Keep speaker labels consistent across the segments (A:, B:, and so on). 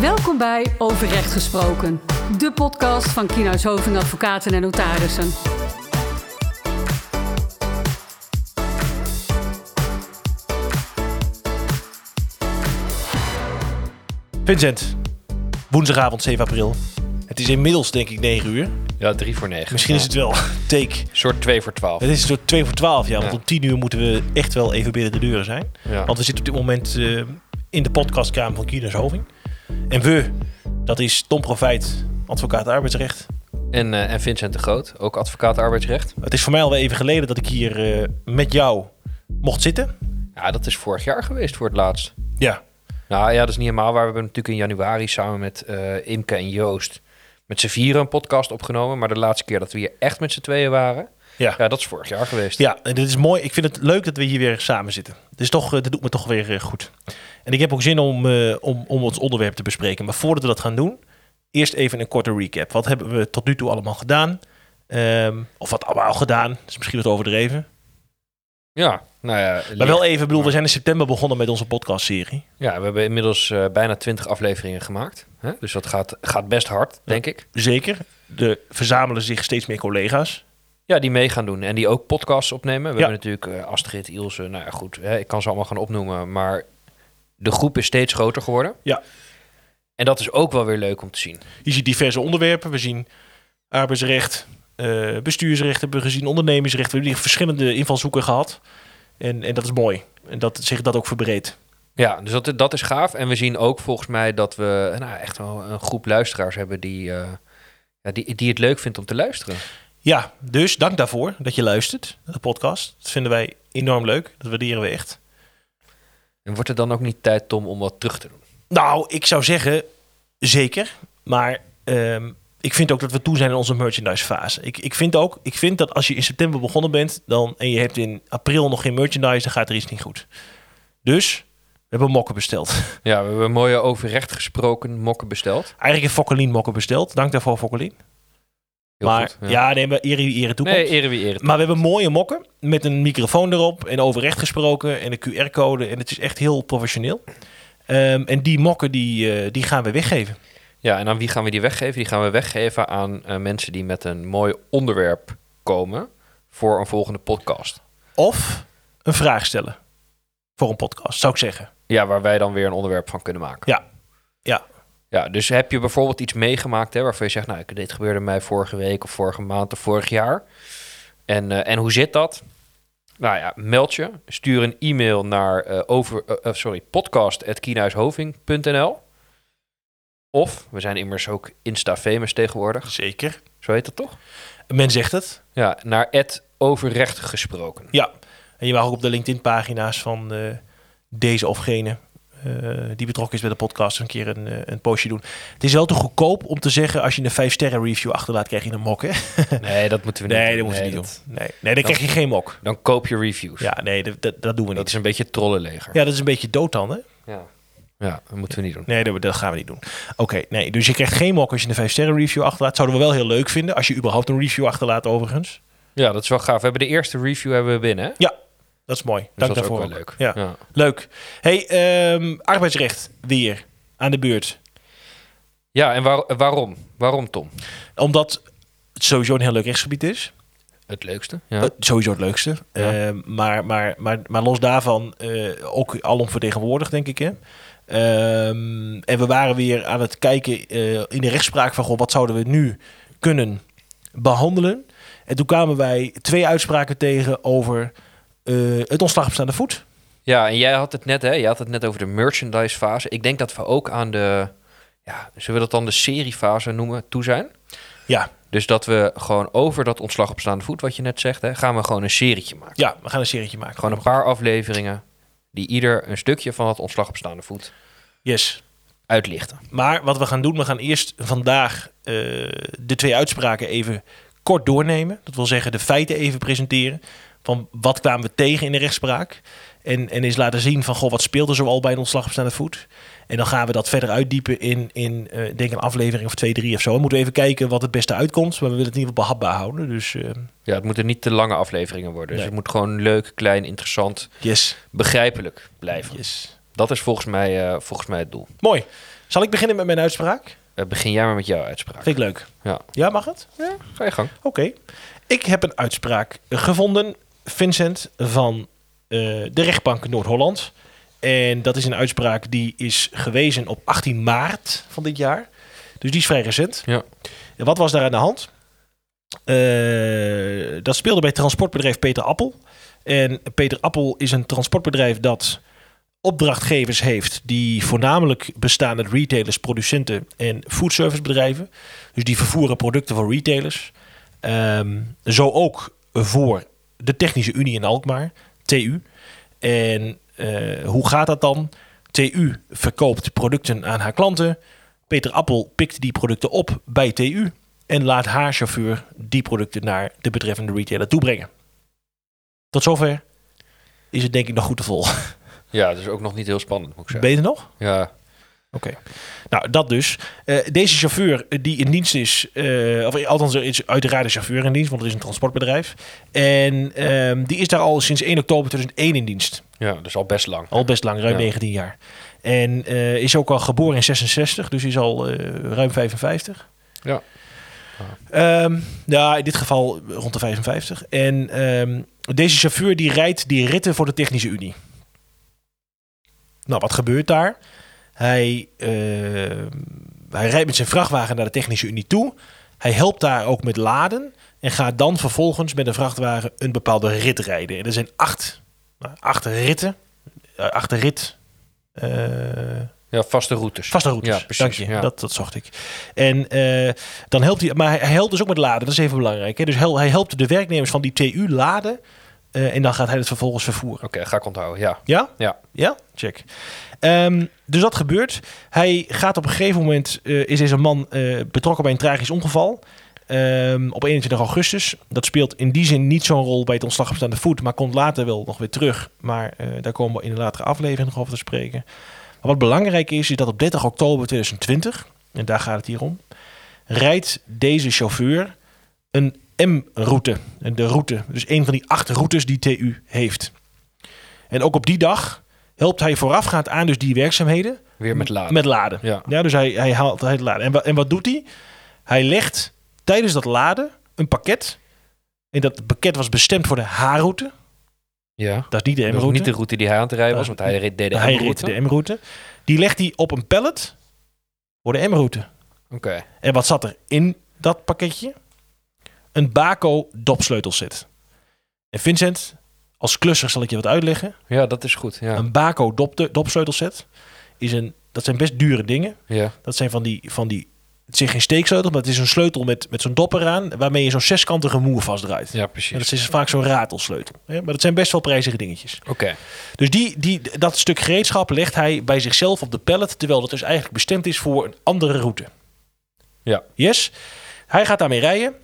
A: Welkom bij Overrecht Gesproken, de podcast van Kienhuis Hoving Advocaten en Notarissen.
B: Vincent, woensdagavond 7 april. Het is inmiddels denk ik 9 uur.
C: Ja, 3 voor 9.
B: Misschien is het wel take.
C: soort 2 voor 12.
B: Het is door 2 voor 12, ja. Want
C: Ja.
B: om 10 uur moeten we echt wel even binnen de deuren zijn.
C: Ja.
B: Want we zitten op dit moment eh, in de podcastkamer van Kieners Hoving. En we, dat is Tom Profijt, advocaat arbeidsrecht.
C: En, eh, en Vincent de Groot, ook advocaat arbeidsrecht.
B: Het is voor mij alweer even geleden dat ik hier eh, met jou mocht zitten.
C: Ja, dat is vorig jaar geweest voor het laatst.
B: Ja.
C: Nou ja, dat is niet helemaal waar. We hebben natuurlijk in januari samen met eh, Imke en Joost met z'n vieren een podcast opgenomen. Maar de laatste keer dat we hier echt met z'n tweeën waren,
B: Ja.
C: ja, dat is vorig jaar geweest.
B: Ja, en dit is mooi. Ik vind het leuk dat we hier weer samen zitten. Dus toch, eh, dat doet me toch weer eh, goed. En ik heb ook zin om, eh, om, om ons onderwerp te bespreken. Maar voordat we dat gaan doen, eerst even een korte recap. Wat hebben we tot nu toe allemaal gedaan? Ehm, of wat allemaal gedaan? Dat is misschien wat overdreven.
C: Ja, nou ja.
B: Maar wel even, ik bedoel, we zijn in september begonnen met onze podcastserie.
C: Ja, we hebben inmiddels eh, bijna 20 afleveringen gemaakt. Hè? Dus dat gaat, gaat best hard, denk ik.
B: Zeker. Er verzamelen zich steeds meer collega's.
C: Ja, die mee gaan doen en die ook podcasts opnemen. We
B: Ja.
C: hebben natuurlijk eh, Astrid, Ilse, nou ja, goed, hè, ik kan ze allemaal gaan opnoemen, maar de groep is steeds groter geworden.
B: Ja.
C: En dat is ook wel weer leuk om te zien.
B: Je ziet diverse onderwerpen. We zien arbeidsrecht, eh, bestuursrecht hebben we gezien, ondernemingsrecht. We hebben hier verschillende invalshoeken gehad. En, en dat is mooi. En dat zich dat ook verbreedt.
C: Ja, dus dat, dat is gaaf. En we zien ook volgens mij dat we eh, nou, echt wel een groep luisteraars hebben die, eh, ja, die, die het leuk vindt om te luisteren.
B: Ja, dus dank daarvoor dat je luistert naar de podcast. Dat vinden wij enorm leuk. Dat waarderen we echt.
C: En wordt het dan ook niet tijd, Tom, om wat terug te doen?
B: Nou, ik zou zeggen, zeker. Maar ehm, ik vind ook dat we toe zijn in onze merchandise fase. Ik, ik vind ook, ik vind dat als je in september begonnen bent dan, en je hebt in april nog geen merchandise, dan gaat er iets niet goed. Dus we hebben mokken besteld.
C: Ja, we hebben mooie overrecht gesproken mokken besteld.
B: Eigenlijk heeft Fokkelien mokken besteld. Dank daarvoor, Fokkelien.
C: Heel
B: Maar
C: goed,
B: ja. nee, maar ere wie ere toekomt.
C: nee, ere wie ere.
B: maar we hebben mooie mokken met een microfoon erop en overrecht gesproken en een QR-code. En het is echt heel professioneel. Ehm, en die mokken die, eh, die gaan we weggeven.
C: Ja, en aan wie gaan we die weggeven? Die gaan we weggeven aan eh, mensen die met een mooi onderwerp komen voor een volgende podcast.
B: Of een vraag stellen voor een podcast, zou ik zeggen.
C: Ja, waar wij dan weer een onderwerp van kunnen maken.
B: Ja. Ja.
C: Ja, dus heb je bijvoorbeeld iets meegemaakt hè, waarvan je zegt, nou, ik- dit gebeurde mij vorige week of vorige maand of vorig jaar. En, eh, en hoe zit dat? Nou ja, meld je. Stuur een e-mail naar eh over, eh, eh, sorry, podcast.kienhuishoving.nl Of, we zijn immers ook Insta-famous tegenwoordig.
B: Zeker.
C: Zo heet dat toch?
B: Men zegt het.
C: Ja, naar Ed Overrecht gesproken.
B: Ja. En je mag ook op de LinkedIn-pagina's van eh, deze of gene eh, die betrokken is bij de podcast een keer een, eh, een postje doen. Het is wel te goedkoop om te zeggen als je een 5-sterren review achterlaat, krijg je een mok, hè?
C: Nee, dat moeten we niet
B: Nee,
C: doen.
B: dat moeten we niet
C: dat-
B: doen. Nee, nee dan krijg je geen mok.
C: Dan koop je reviews.
B: Ja, nee, dat, dat, dat doen we
C: Dat
B: niet.
C: is een beetje trollenleger.
B: Ja, dat is een beetje dood dan, hè?
C: Ja. ja, dat moeten we niet doen.
B: Nee, dat, dat gaan we niet doen. Oké, nee, dus je krijgt geen mok als je een 5-sterren review achterlaat. Zouden we wel heel leuk vinden, als je überhaupt een review achterlaat overigens.
C: Ja, dat is wel gaaf. We hebben de eerste review hebben we binnen. hè? Dus
B: Ja, dat is mooi. Dank
C: dat is
B: daarvoor.
C: ook wel leuk.
B: Ja, leuk. hey, ehm, arbeidsrecht weer aan de beurt.
C: Ja, en waar- waarom? Waarom, Tom?
B: Omdat het sowieso een heel leuk rechtsgebied is.
C: Het leukste. Ja.
B: Eh, sowieso het leukste.
C: Ja.
B: Eh, maar, maar, maar, maar los daarvan eh, ook alom vertegenwoordigd, denk ik. Hè? Ehm, en we waren weer aan het kijken eh, in de rechtspraak van... Goh, wat zouden we nu kunnen behandelen? En toen kwamen wij twee uitspraken tegen over eh, het ontslag op staande voet.
C: ja, en jij had het net, hè? Jij had het net over de merchandise fase. Ik denk dat we ook aan de, ja, zullen we dat dan de seriefase noemen, toe zijn?
B: Ja,
C: Dus dat we gewoon over dat ontslag op staande voet, wat je net zegt, hè, gaan we gewoon een serietje maken.
B: ja, we gaan een serietje maken.
C: Gewoon een paar afleveringen die ieder een stukje van het ontslag op staande voet
B: Yes.
C: uitlichten.
B: Maar wat we gaan doen, we gaan eerst vandaag eh, de twee uitspraken even kort doornemen. Dat wil zeggen de feiten even presenteren. Van wat kwamen we tegen in de rechtspraak? En, en eens laten zien van, goh, wat speelt er zoal bij een ontslag op staande voet? En dan gaan we dat verder uitdiepen in, in eh, ik denk een aflevering of twee, drie of zo. Dan moeten we even kijken wat het beste uitkomt. Maar we willen het in ieder geval behapbaar houden. Dus eh,
C: Ja, het moeten niet te lange afleveringen worden. Dus
B: Nee.
C: het moet gewoon leuk, klein, interessant,
B: yes,
C: begrijpelijk blijven.
B: yes.
C: Dat is volgens mij, eh, volgens mij het doel.
B: Mooi. Zal ik beginnen met mijn uitspraak?
C: Eh, begin jij maar met jouw uitspraak.
B: Vind ik leuk.
C: Ja,
B: Ja, mag het?
C: ga je gang.
B: Oké. Ik heb een uitspraak gevonden, Vincent, van eh, de rechtbank Noord-Holland. En dat is een uitspraak die is gewezen op 18 maart van dit jaar. Dus die is vrij recent.
C: Ja.
B: En wat was daar aan de hand? Eh, dat speelde bij transportbedrijf Peter Appel. En Peter Appel is een transportbedrijf dat opdrachtgevers heeft die voornamelijk bestaan uit retailers, producenten en foodservicebedrijven. Dus die vervoeren producten voor retailers. Ehm, zo ook voor de Technische Unie in Alkmaar, TU. En eh, hoe gaat dat dan? TU verkoopt producten aan haar klanten. Peter Appel pikt die producten op bij TU en laat haar chauffeur die producten naar de betreffende retailer toebrengen. Tot zover is het denk ik nog goed te volgen.
C: Ja, dat is ook nog niet heel spannend, moet ik zeggen.
B: Beter nog?
C: Ja,
B: Oké. Nou, dat dus. Eh, deze chauffeur eh, die in dienst is, eh, of althans er is uiteraard een chauffeur in dienst, want het is een transportbedrijf. En ehm, die is daar al sinds 1 oktober 2001 in dienst.
C: ja, dat is al best lang.
B: Al best lang, ruim
C: Ja.
B: 19 jaar. En eh, is ook al geboren in 66, dus is al eh, ruim 55.
C: Ja.
B: Ehm, ja, in dit geval rond de 55. En ehm, deze chauffeur die rijdt die ritten voor de Technische Unie. Nou, wat gebeurt daar? Hij, eh, hij rijdt met zijn vrachtwagen naar de Technische Unie toe. Hij helpt daar ook met laden. En gaat dan vervolgens met een vrachtwagen een bepaalde rit rijden. En er zijn acht, nou, acht ritten. eh, acht rit. eh,
C: Ja, vaste routes.
B: vaste routes.
C: Ja, precies,
B: Dank je.
C: ja.
B: Dat, dat zocht ik. En eh, dan helpt hij. Maar hij hij helpt dus ook met laden. Dat is even belangrijk. Hè? Dus hel- hij helpt de werknemers van die TU laden. eh, en dan gaat hij het vervolgens vervoeren.
C: Oké, ga ik onthouden, ja.
B: Ja?
C: Ja.
B: Ja? Check. Ehm, dus dat gebeurt. Hij gaat op een gegeven moment, eh, is deze man eh, betrokken bij een tragisch ongeval. Ehm, op 21 augustus. Dat speelt in die zin niet zo'n rol bij het ontslag op staande voet, maar komt later wel nog weer terug. Maar eh, daar komen we in een latere aflevering nog over te spreken. Maar wat belangrijk is, is dat op 30 oktober 2020, en daar gaat het hier om, rijdt deze chauffeur een M-route. En De route, dus een van die acht routes die TU heeft. En ook op die dag helpt hij voorafgaand aan dus die werkzaamheden
C: Weer met laden.
B: met laden.
C: Ja.
B: Ja, dus hij, hij haalt hij het laden. En, wa- en wat doet hij? Hij legt tijdens dat laden een pakket. En dat pakket was bestemd voor de H-route.
C: Ja.
B: Dat is niet de
C: Dat was niet
B: M-route.
C: de route die hij aan te rijden was,
B: Dat
C: want
B: is-
C: hij reed- deed de
B: Hij reed
C: route
B: de M-route. Die legt hij op een pallet voor de M-route.
C: Oké.
B: En wat zat er in dat pakketje? Een Baco dopsleutelset. En Vincent, als klusser zal ik je wat uitleggen.
C: Ja, dat is goed. Ja.
B: Een Baco dop, dopsleutelset is een, dat zijn best dure dingen.
C: ja.
B: Dat zijn van die, van die het is geen steeksleutel, maar het is een sleutel met, met zo'n dop eraan, waarmee je zo'n zeskantige moer vastdraait.
C: ja,
B: En
C: precies.
B: dat is vaak zo'n ratelsleutel. Hè? Maar dat zijn best wel prijzige dingetjes.
C: Oké.
B: Dus die, die, dat stuk gereedschap legt hij bij zichzelf op de pallet, terwijl dat dus eigenlijk bestemd is voor een andere route.
C: Ja.
B: Yes. Hij gaat daarmee rijden.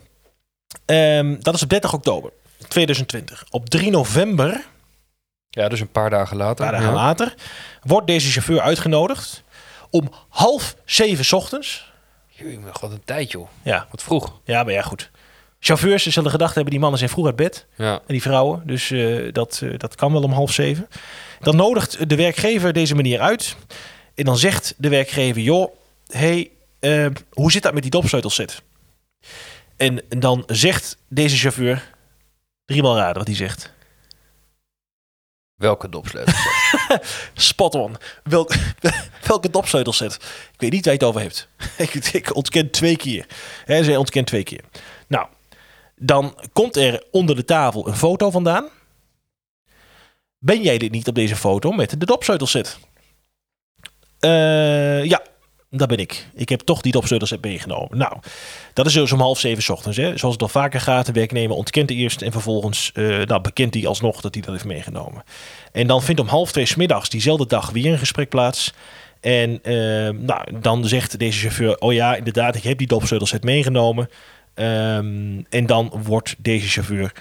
B: Ehm, dat is op 30 oktober 2020. Op 3 november
C: Ja, dus een paar dagen later.
B: een paar dagen
C: ja.
B: later, wordt deze chauffeur uitgenodigd om half zeven 's ochtends.
C: Jee, maar wat een tijd, joh.
B: Ja,
C: Wat vroeg.
B: ja, maar ja, goed. Chauffeurs ze zullen gedacht hebben, die mannen zijn vroeg uit bed.
C: Ja.
B: En die vrouwen, dus eh, dat, eh, dat kan wel om half zeven. Dan nodigt de werkgever deze manier uit. En dan zegt de werkgever, joh, hey, eh, hoe zit dat met die dopsleutelset? En dan zegt deze chauffeur, driemaal raden wat hij zegt.
C: Welke dopsleutel?
B: Spot on. Welk, welke dopsleutelset? Ik weet niet waar je het over hebt. ik, ik ontken twee keer. Hè, zij ontkent twee keer. Nou, dan komt er onder de tafel een foto vandaan. Ben jij dit niet op deze foto met de dopsleutelset? Eh, ja, dat ben ik. Ik heb toch die dopsleutelset meegenomen. Nou, dat is dus om half zeven 's ochtends. Hè. Zoals het al vaker gaat, de werknemer ontkent eerst... en vervolgens eh, nou, bekent hij alsnog dat hij dat heeft meegenomen. En dan vindt om half twee 's middags diezelfde dag weer een gesprek plaats. En eh, nou, dan zegt deze chauffeur: Oh ja, inderdaad, ik heb die dopsleutelset meegenomen. Ehm, en dan wordt deze chauffeur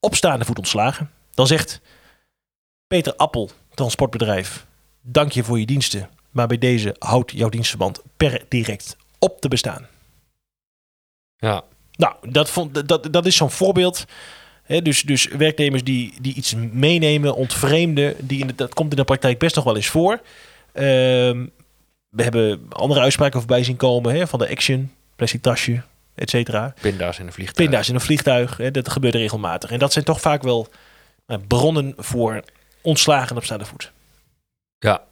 B: op staande voet ontslagen. Dan zegt Peter Appel, transportbedrijf: Dank je voor je diensten. Maar bij deze houdt jouw dienstverband per direct op te bestaan.
C: ja.
B: Nou, dat, vond, dat, dat is zo'n voorbeeld Hè, dus, dus werknemers die, die iets meenemen, ontvreemden, die in de- dat komt in de praktijk best nog wel eens voor. Ehm, we hebben andere uitspraken voorbij zien komen hè, van de Action, plastic tasje, et cetera.
C: Pinda's in een vliegtuig.
B: Pinda's in een vliegtuig, hè, dat gebeurt regelmatig. En dat zijn toch vaak wel eh, bronnen voor ontslagen op staande voet.
C: Ja.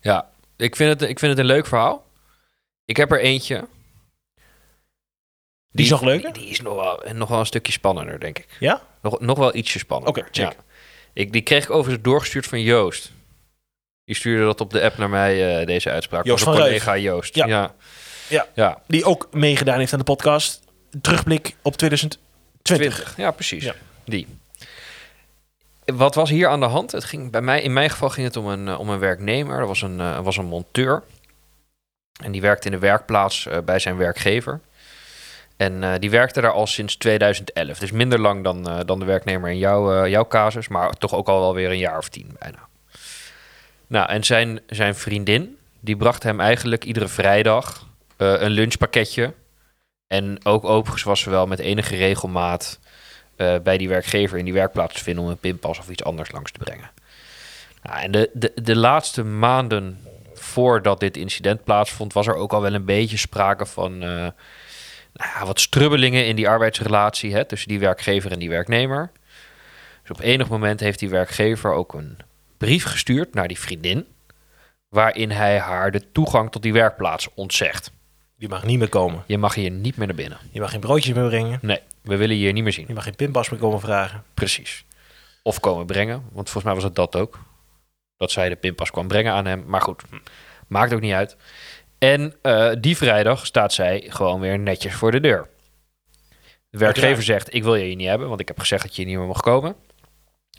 C: Ja. Ik vind, het, ik vind het een leuk verhaal. Ik heb er eentje. Die,
B: is nog leuker?
C: Die is nog wel, en nog wel een stukje spannender, denk ik.
B: Ja?
C: Nog, nog wel ietsje spannender.
B: Oké, check.
C: Ja. Ik, die kreeg ik overigens doorgestuurd van Joost. Die stuurde dat op de app naar mij, eh, deze uitspraak.
B: Joost
C: Onze
B: van
C: collega Joost.
B: Ja.
C: Ja.
B: Ja.
C: ja.
B: Die ook meegedaan heeft aan de podcast. Terugblik op 2020.
C: 20. Ja, precies.
B: Ja.
C: Die. Wat was hier aan de hand? Het ging, bij mij, in mijn geval ging het om een, eh, om een werknemer. Dat was een, eh, was een monteur. En die werkte in de werkplaats eh, bij zijn werkgever. En eh, die werkte daar al sinds 2011. Dus minder lang dan, eh, dan de werknemer in jouw, eh, jouw casus. Maar toch ook al wel weer een jaar of tien bijna. Nou, en zijn, zijn vriendin, die bracht hem eigenlijk iedere vrijdag eh, een lunchpakketje. En ook overigens was ze wel met enige regelmaat eh, bij die werkgever in die werkplaats te vinden om een pinpas of iets anders langs te brengen. Nou, en de, de, de laatste maanden voordat dit incident plaatsvond, was er ook al wel een beetje sprake van eh, nou ja, wat strubbelingen in die arbeidsrelatie hè, tussen die werkgever en die werknemer. Dus op enig moment heeft die werkgever ook een brief gestuurd naar die vriendin, waarin hij haar de toegang tot die werkplaats ontzegt.
B: Die mag niet meer komen.
C: Je mag hier niet meer naar binnen.
B: Je mag geen broodjes meer brengen.
C: Nee, we willen je hier niet meer zien.
B: Je mag geen pinpas meer komen vragen.
C: Precies. Of komen brengen, want volgens mij was het dat ook. Dat zij de pinpas kwam brengen aan hem. Maar goed, hm, maakt ook niet uit. En eh, die vrijdag staat zij gewoon weer netjes voor de deur. De werkgever zegt, ik wil je hier niet hebben, want ik heb gezegd dat je hier niet meer mag komen.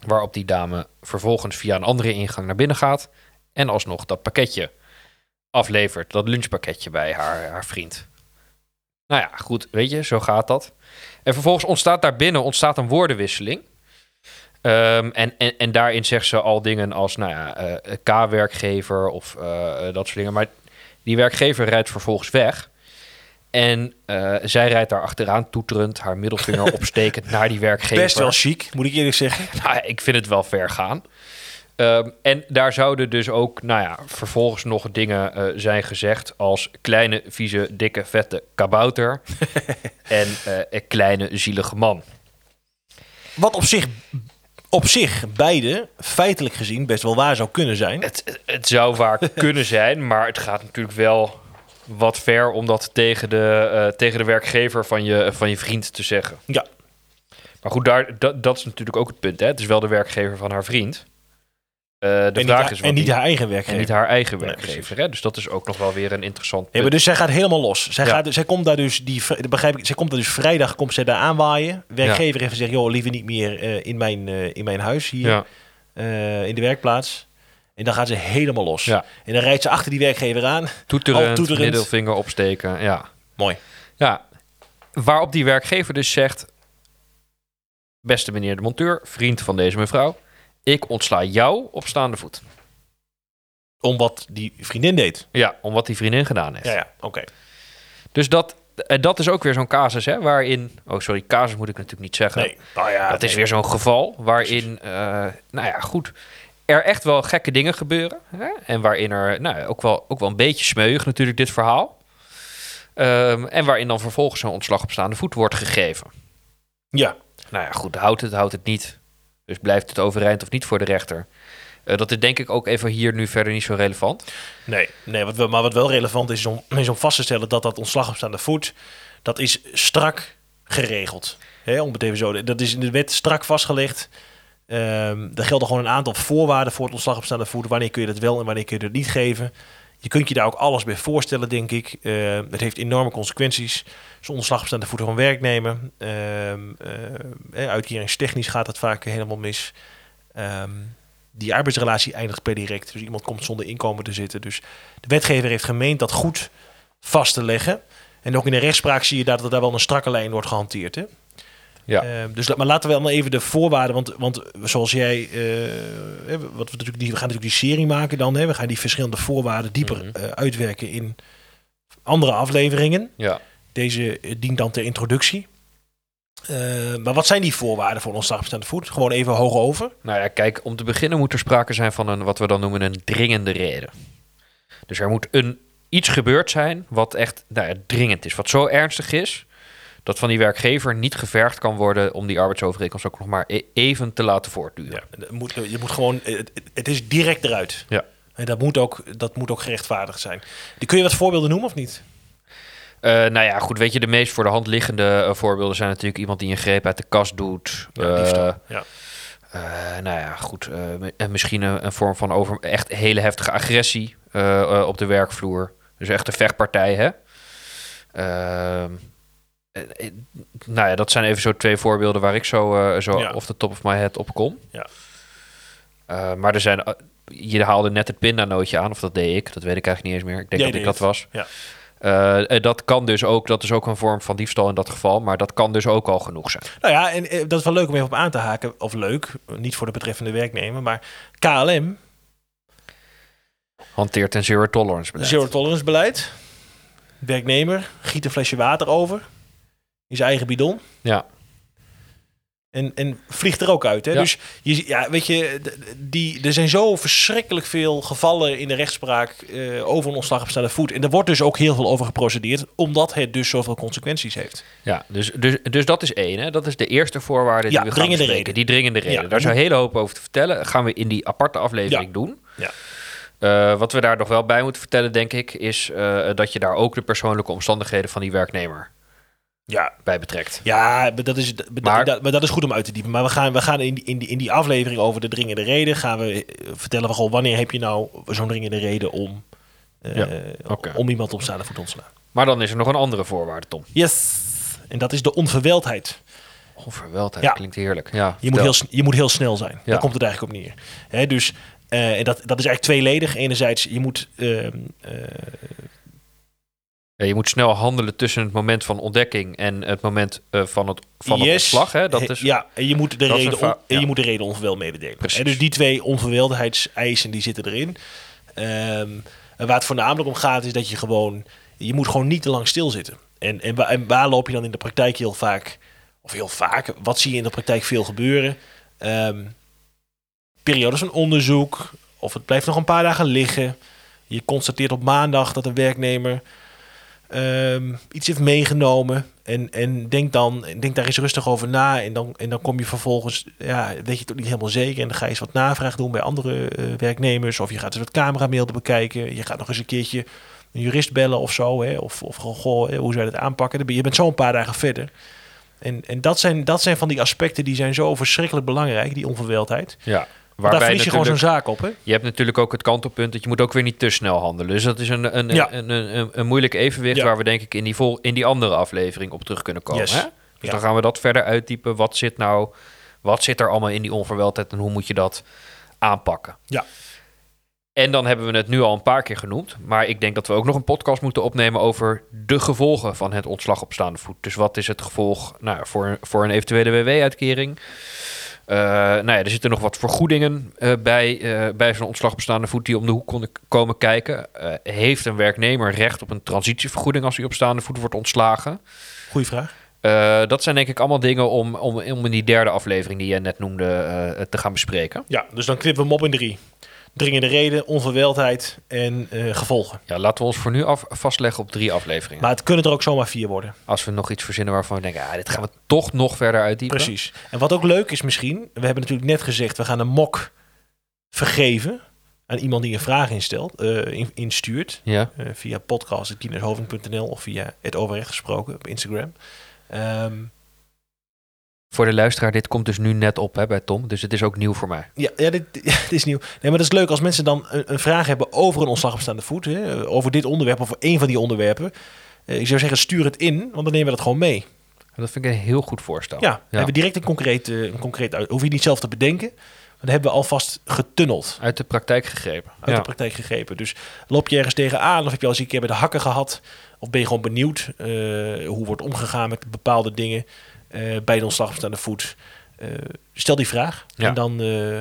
C: Waarop die dame vervolgens via een andere ingang naar binnen gaat. En alsnog dat pakketje aflevert, dat lunchpakketje bij haar, haar vriend. Nou ja, goed, weet je, zo gaat dat. En vervolgens ontstaat daar binnen ontstaat een woordenwisseling. Ehm, en, en, en daarin zegt ze al dingen als, nou ja, eh, K-werkgever of eh, eh, dat soort dingen. Maar die werkgever rijdt vervolgens weg. En eh, zij rijdt daar achteraan, toeterend, haar middelvinger opstekend naar die werkgever.
B: Best wel chic, moet ik eerlijk zeggen.
C: Nou, ja, ik vind het wel ver gaan. Ehm, en daar zouden dus ook, nou ja, vervolgens nog dingen eh, zijn gezegd als kleine, vieze, dikke, vette kabouter en eh, een kleine, zielige man.
B: Wat op zich, op zich beide feitelijk gezien best wel waar zou kunnen zijn.
C: Het, het- het zou waar kunnen zijn, maar het gaat natuurlijk wel wat ver om dat tegen de, eh, tegen de werkgever van je, van je vriend te zeggen.
B: Ja,
C: Maar goed, daar, dat, dat is natuurlijk ook het punt. Hè? Het is wel de werkgever van haar vriend. Eh, de
B: en niet,
C: vraag
B: haar,
C: is wat
B: en niet
C: die-
B: haar eigen
C: en
B: werkgever.
C: niet haar eigen
B: Nee,
C: werkgever.
B: precies.
C: hè? Dus dat is ook nog wel weer een interessant
B: Nee,
C: punt.
B: maar dus zij gaat helemaal los. Zij,
C: Ja.
B: gaat, zij komt daar dus, die, vri- dat begrijp ik, zij komt daar dus vrijdag komt zij daar aanwaaien. Werkgever heeft gezegd, joh, liever niet meer eh, in, mijn, eh, in mijn huis hier,
C: Ja,
B: eh, in de werkplaats. En dan gaat ze helemaal los.
C: Ja.
B: En dan rijdt ze achter die werkgever aan. Al
C: toeterend,
B: toeterend.
C: middelvinger opsteken, ja.
B: Mooi.
C: ja. Waarop die werkgever dus zegt... Beste meneer de monteur, vriend van deze mevrouw... ik ontsla jou op staande voet.
B: Om wat die vriendin deed.
C: Ja, om wat die vriendin gedaan heeft.
B: Ja, ja, oké.
C: Dus dat, en dat is ook weer zo'n casus, hè, waarin... Oh, sorry, casus moet ik natuurlijk niet zeggen.
B: Nee. Nou ja,
C: dat is
B: nee.
C: weer zo'n geval waarin, eh, nou ja, goed, er echt wel gekke dingen gebeuren. Hè? En waarin er, nou ja, ook wel, ook wel een beetje smeuig natuurlijk dit verhaal. Ehm, en waarin dan vervolgens zo'n ontslag op staande voet wordt gegeven.
B: Ja,
C: Nou ja, goed, houdt het, houdt het niet. Dus blijft het overeind of niet voor de rechter. Eh, dat is denk ik ook even hier nu verder niet zo relevant.
B: nee. nee wat, wel- maar wat wel relevant is om, is om vast te stellen dat dat ontslag op staande voet, dat is strak geregeld. Hè, om het even zo, dat is in de wet strak vastgelegd. Ehm er gelden gewoon een aantal voorwaarden voor het ontslag op staande voet. Wanneer kun je dat wel en wanneer kun je dat niet geven? Je kunt je daar ook alles bij voorstellen, denk ik. Eh, het heeft enorme consequenties. Zo'n ontslag op staande voet van werknemer. Ehm eh, hè, uitkeringstechnisch gaat dat vaak helemaal mis. Ehm, die arbeidsrelatie eindigt per direct. Dus iemand komt zonder inkomen te zitten. Dus de wetgever heeft gemeend dat goed vast te leggen. En ook in de rechtspraak zie je dat, dat daar wel een strakke lijn wordt gehanteerd. Hè?
C: Ja.
B: Ehm, dus, la- maar laten we dan even de voorwaarden, want, want zoals jij, eh, hè, wat we, natuurlijk die, we gaan natuurlijk die serie maken dan, hè, we gaan die verschillende voorwaarden dieper
C: Mhm.
B: eh, uitwerken in andere afleveringen.
C: Ja,
B: Deze eh, dient dan ter introductie. Eh, maar wat zijn die voorwaarden voor ontslag bestaande voet? Gewoon even hoog over.
C: Nou ja, kijk, om te beginnen moet er sprake zijn van een, wat we dan noemen een dringende reden. Dus er moet een, iets gebeurd zijn wat echt nou ja, dringend is. Wat zo ernstig is dat van die werkgever niet gevergd kan worden om die arbeidsovereenkomst ook nog maar e- even te laten voortduren.
B: Ja, dat moet, je moet gewoon, het, het is direct eruit.
C: Ja.
B: En dat moet, ook, dat moet ook gerechtvaardigd zijn. Die, kun je wat voorbeelden noemen of niet?
C: Eh, nou ja, goed, weet je, de meest voor de hand liggende eh, voorbeelden zijn natuurlijk iemand die een greep uit de kast doet.
B: Ja,
C: Eh,
B: liefde. Ja.
C: Eh, nou ja, goed. eh, mi- en misschien een, een vorm van over, echt hele heftige agressie eh, eh, op de werkvloer. Dus echt een vechtpartij, hè? Ehm, eh, eh, nou ja, dat zijn even zo twee voorbeelden waar ik zo, eh, zo
B: Ja.
C: off the top of my head op kom.
B: Ja.
C: Eh, maar er zijn... eh, je haalde net het pindanootje aan, of dat deed ik. Dat weet ik eigenlijk niet eens meer. Ik denk
B: Jij
C: dat ik
B: deed
C: dat was.
B: Ja.
C: Eh, eh, dat kan dus ook, dat is ook een vorm van diefstal in dat geval, maar dat kan dus ook al genoeg zijn.
B: Nou ja, en eh, dat is wel leuk om even op aan te haken. Of leuk, niet voor de betreffende werknemer, maar KLM,
C: Hanteert een zero tolerance beleid.
B: zero tolerance beleid. Werknemer giet een flesje water over in zijn eigen bidon.
C: Ja.
B: En, en vliegt er ook uit. Hè?
C: Ja.
B: Dus je, zie- ja, weet je, d- d- die, er zijn zo verschrikkelijk veel gevallen in de rechtspraak eh, over een ontslag op staande voet. En er wordt dus ook heel veel over geprocedeerd, omdat het dus zoveel consequenties heeft.
C: Ja, dus, dus, dus dat is één. Hè? Dat is de eerste voorwaarde die
B: Ja,
C: we gaan
B: dringende
C: bespreken.
B: reden.
C: Die dringende reden.
B: Ja.
C: Daar is een hele hoop over te vertellen. Dat gaan we in die aparte aflevering
B: Ja.
C: doen.
B: Ja.
C: Eh, wat we daar nog wel bij moeten vertellen, denk ik, is eh, dat je daar ook de persoonlijke omstandigheden van die werknemer
B: Ja,
C: bij betrekt.
B: ja maar, dat is, maar,
C: Maar-
B: dat, maar dat is goed om uit te diepen. Maar we gaan, we gaan in, die- in, die, in die aflevering over de dringende reden, gaan we eh, vertellen we gewoon wanneer heb je nou zo'n dringende reden om, eh,
C: Ja, oké.
B: om iemand op staande voet te ontslaan.
C: Maar dan is er nog een andere voorwaarde, Tom.
B: Yes! En dat is de onverweldheid.
C: Onverweldheid,
B: Ja.
C: klinkt heerlijk. Ja,
B: Je moet,
C: vertel.
B: heel, sn- je moet heel snel zijn.
C: Ja.
B: Daar komt het eigenlijk op neer. Hè, dus eh, en dat, dat is eigenlijk tweeledig. Enerzijds, je moet. ehm, eh,
C: Ja, je moet snel handelen tussen het moment van ontdekking en het moment eh, van het, van het
B: yes,
C: ontslag. Hè? Dat
B: eh,
C: is,
B: ja, en je moet de
C: dat is
B: reden,
C: een va-
B: on- en je
C: ja.
B: moet de reden onverweld mededelen.
C: Precies.
B: Hè, dus die twee onverweldheidseisen die zitten erin. Ehm, en waar het voornamelijk om gaat, is dat je gewoon. Je moet gewoon niet te lang stilzitten. En, en, wa- en waar loop je dan in de praktijk heel vaak. Of heel vaak, wat zie je in de praktijk veel gebeuren? Ehm, periodes van onderzoek, of het blijft nog een paar dagen liggen. Je constateert op maandag dat een werknemer ehm, iets heeft meegenomen. En, en denk dan, denk daar eens rustig over na. En dan, en dan kom je vervolgens, ja, weet je het ook niet helemaal zeker. En dan ga je eens wat navraag doen bij andere eh, werknemers. Of je gaat eens wat camerabeelden bekijken. Je gaat nog eens een keertje een jurist bellen of zo. Hè? Of, of gewoon, goh, hè, hoe zou je dat aanpakken? Dan ben je je bent zo een paar dagen verder. En, en dat, zijn, dat zijn van die aspecten die zijn zo verschrikkelijk belangrijk, die onverweldheid.
C: ja.
B: Daar
C: Waarbij
B: verlies je gewoon
C: natuurlijk-
B: zo'n zaak op, hè?
C: Je hebt natuurlijk ook het kantelpunt dat je moet ook weer niet te snel handelen. Dus dat is een, een,
B: Ja.
C: een, een, een, een moeilijk evenwicht
B: Ja.
C: waar we denk ik in die, vol, in die andere aflevering op terug kunnen komen.
B: Yes.
C: Hè? Dus
B: Ja.
C: dan gaan we dat verder uitdiepen. Wat zit nou, wat zit er allemaal in die onverweldheid en hoe moet je dat aanpakken?
B: Ja.
C: En dan hebben we het nu al een paar keer genoemd. Maar ik denk dat we ook nog een podcast moeten opnemen over de gevolgen van het ontslag op staande voet. Dus wat is het gevolg nou, ja, voor, voor een eventuele WW-uitkering? Eh, nou ja, er zitten nog wat vergoedingen eh, bij, eh, bij zo'n ontslag op staande voet die om de hoek konden k- komen kijken. Eh, heeft een werknemer recht op een transitievergoeding als hij op staande voet wordt ontslagen?
B: Goeie vraag.
C: Eh, dat zijn denk ik allemaal dingen om, om, om in die derde aflevering die jij net noemde eh, te gaan bespreken.
B: Ja, dus dan knippen we hem op in drie. Dringende reden, onverweldheid en eh, gevolgen.
C: Ja, laten we ons voor nu af, vastleggen op drie afleveringen.
B: Maar het kunnen er ook zomaar vier worden.
C: Als we nog iets verzinnen waarvan we denken, ah, dit gaan we toch nog verder uitdiepen.
B: Precies. En wat ook leuk is misschien, we hebben natuurlijk net gezegd, we gaan een mok vergeven aan iemand die een vraag instelt, eh, in- instuurt.
C: Ja.
B: eh, via podcast.kiendershoven.nl of via het overrecht gesproken op Instagram. Ehm,
C: Voor de luisteraar, dit komt dus nu net op hè, bij Tom. Dus het is ook nieuw voor mij.
B: Ja, ja dit, dit is nieuw. Nee, maar dat is leuk als mensen dan een, een vraag hebben over een ontslag op staande voet. Hè, over dit onderwerp of over één van die onderwerpen. Eh, ik zou zeggen, stuur het in, want dan nemen we dat gewoon mee.
C: Dat vind ik een heel goed voorstel.
B: Ja, dan hebben we direct een concreet, eh, een concreet uit. Hoef je niet zelf te bedenken. Maar dan hebben we alvast getunneld.
C: Uit de praktijk gegrepen.
B: Uit de praktijk gegrepen. Dus loop je ergens tegenaan of heb je al eens een keer bij de hakken gehad? Of ben je gewoon benieuwd eh, hoe wordt omgegaan met bepaalde dingen eh, bij de ontslag op staande voet? Eh, stel die vraag
C: Ja.
B: en dan eh,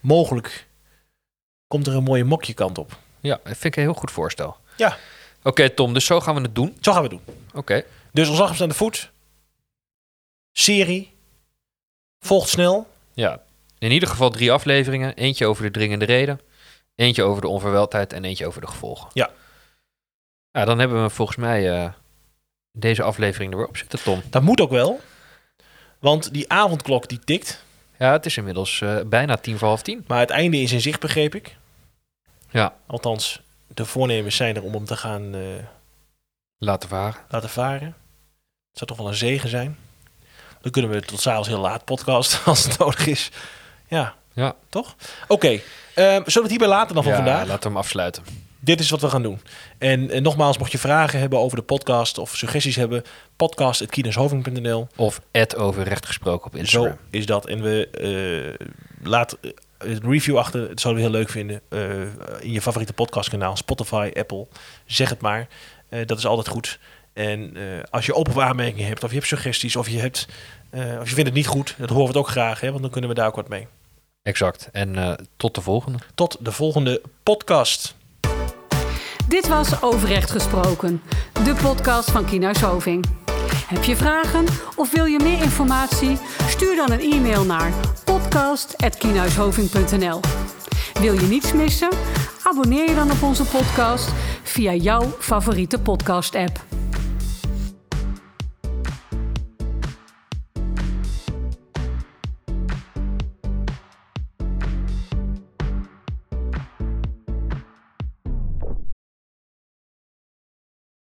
B: mogelijk komt er een mooie mokje kant op.
C: Ja, dat vind ik een heel goed voorstel.
B: Ja.
C: Oké, Tom, dus zo gaan we het doen.
B: Zo gaan we het doen.
C: Oké.
B: Dus ontslag op staande voet, serie. Volgt snel.
C: Ja, in ieder geval drie afleveringen. Eentje over de dringende reden, eentje over de onverweldheid en eentje over de gevolgen.
B: Ja.
C: Ja, dan hebben we volgens mij eh, deze aflevering er weer op zitten, Tom.
B: Dat moet ook wel. Want die avondklok die tikt.
C: Ja, het is inmiddels eh, bijna tien voor half tien.
B: Maar het einde is in zicht, begreep ik.
C: Ja.
B: Althans, de voornemens zijn er om hem te gaan eh,
C: Laten varen.
B: laten varen. Het zou toch wel een zegen zijn. Dan kunnen we tot s'avonds heel laat podcast als het nodig is. Ja.
C: Ja.
B: Toch? Oké. eh, zullen we het hierbij laten dan van
C: ja,
B: vandaag?
C: laten we hem afsluiten.
B: Dit is wat we gaan doen. En, eh, nogmaals, mocht je vragen hebben over de podcast of suggesties hebben, podcast.kineshoving.nl.
C: Of ad over recht gesproken op Instagram.
B: Zo is dat. En we eh, laat eh, het review achter. Dat zouden we heel leuk vinden. eh, in je favoriete podcastkanaal, Spotify, Apple. Zeg het maar. Eh, dat is altijd goed. En eh, als je open aanmerkingen hebt, of je hebt suggesties, of je, hebt, eh, of je vindt het niet goed, dat horen we het ook graag, hè, want dan kunnen we daar ook wat mee.
C: Exact. En eh, tot de volgende.
B: Tot de volgende podcast.
A: Dit was Overrecht Gesproken, de podcast van Kienhuis Hoving. Heb je vragen of wil je meer informatie? Stuur dan een e-mail naar podcast.kienhuishoving.nl Wil je niets missen? Abonneer je dan op onze podcast via jouw favoriete podcast-app.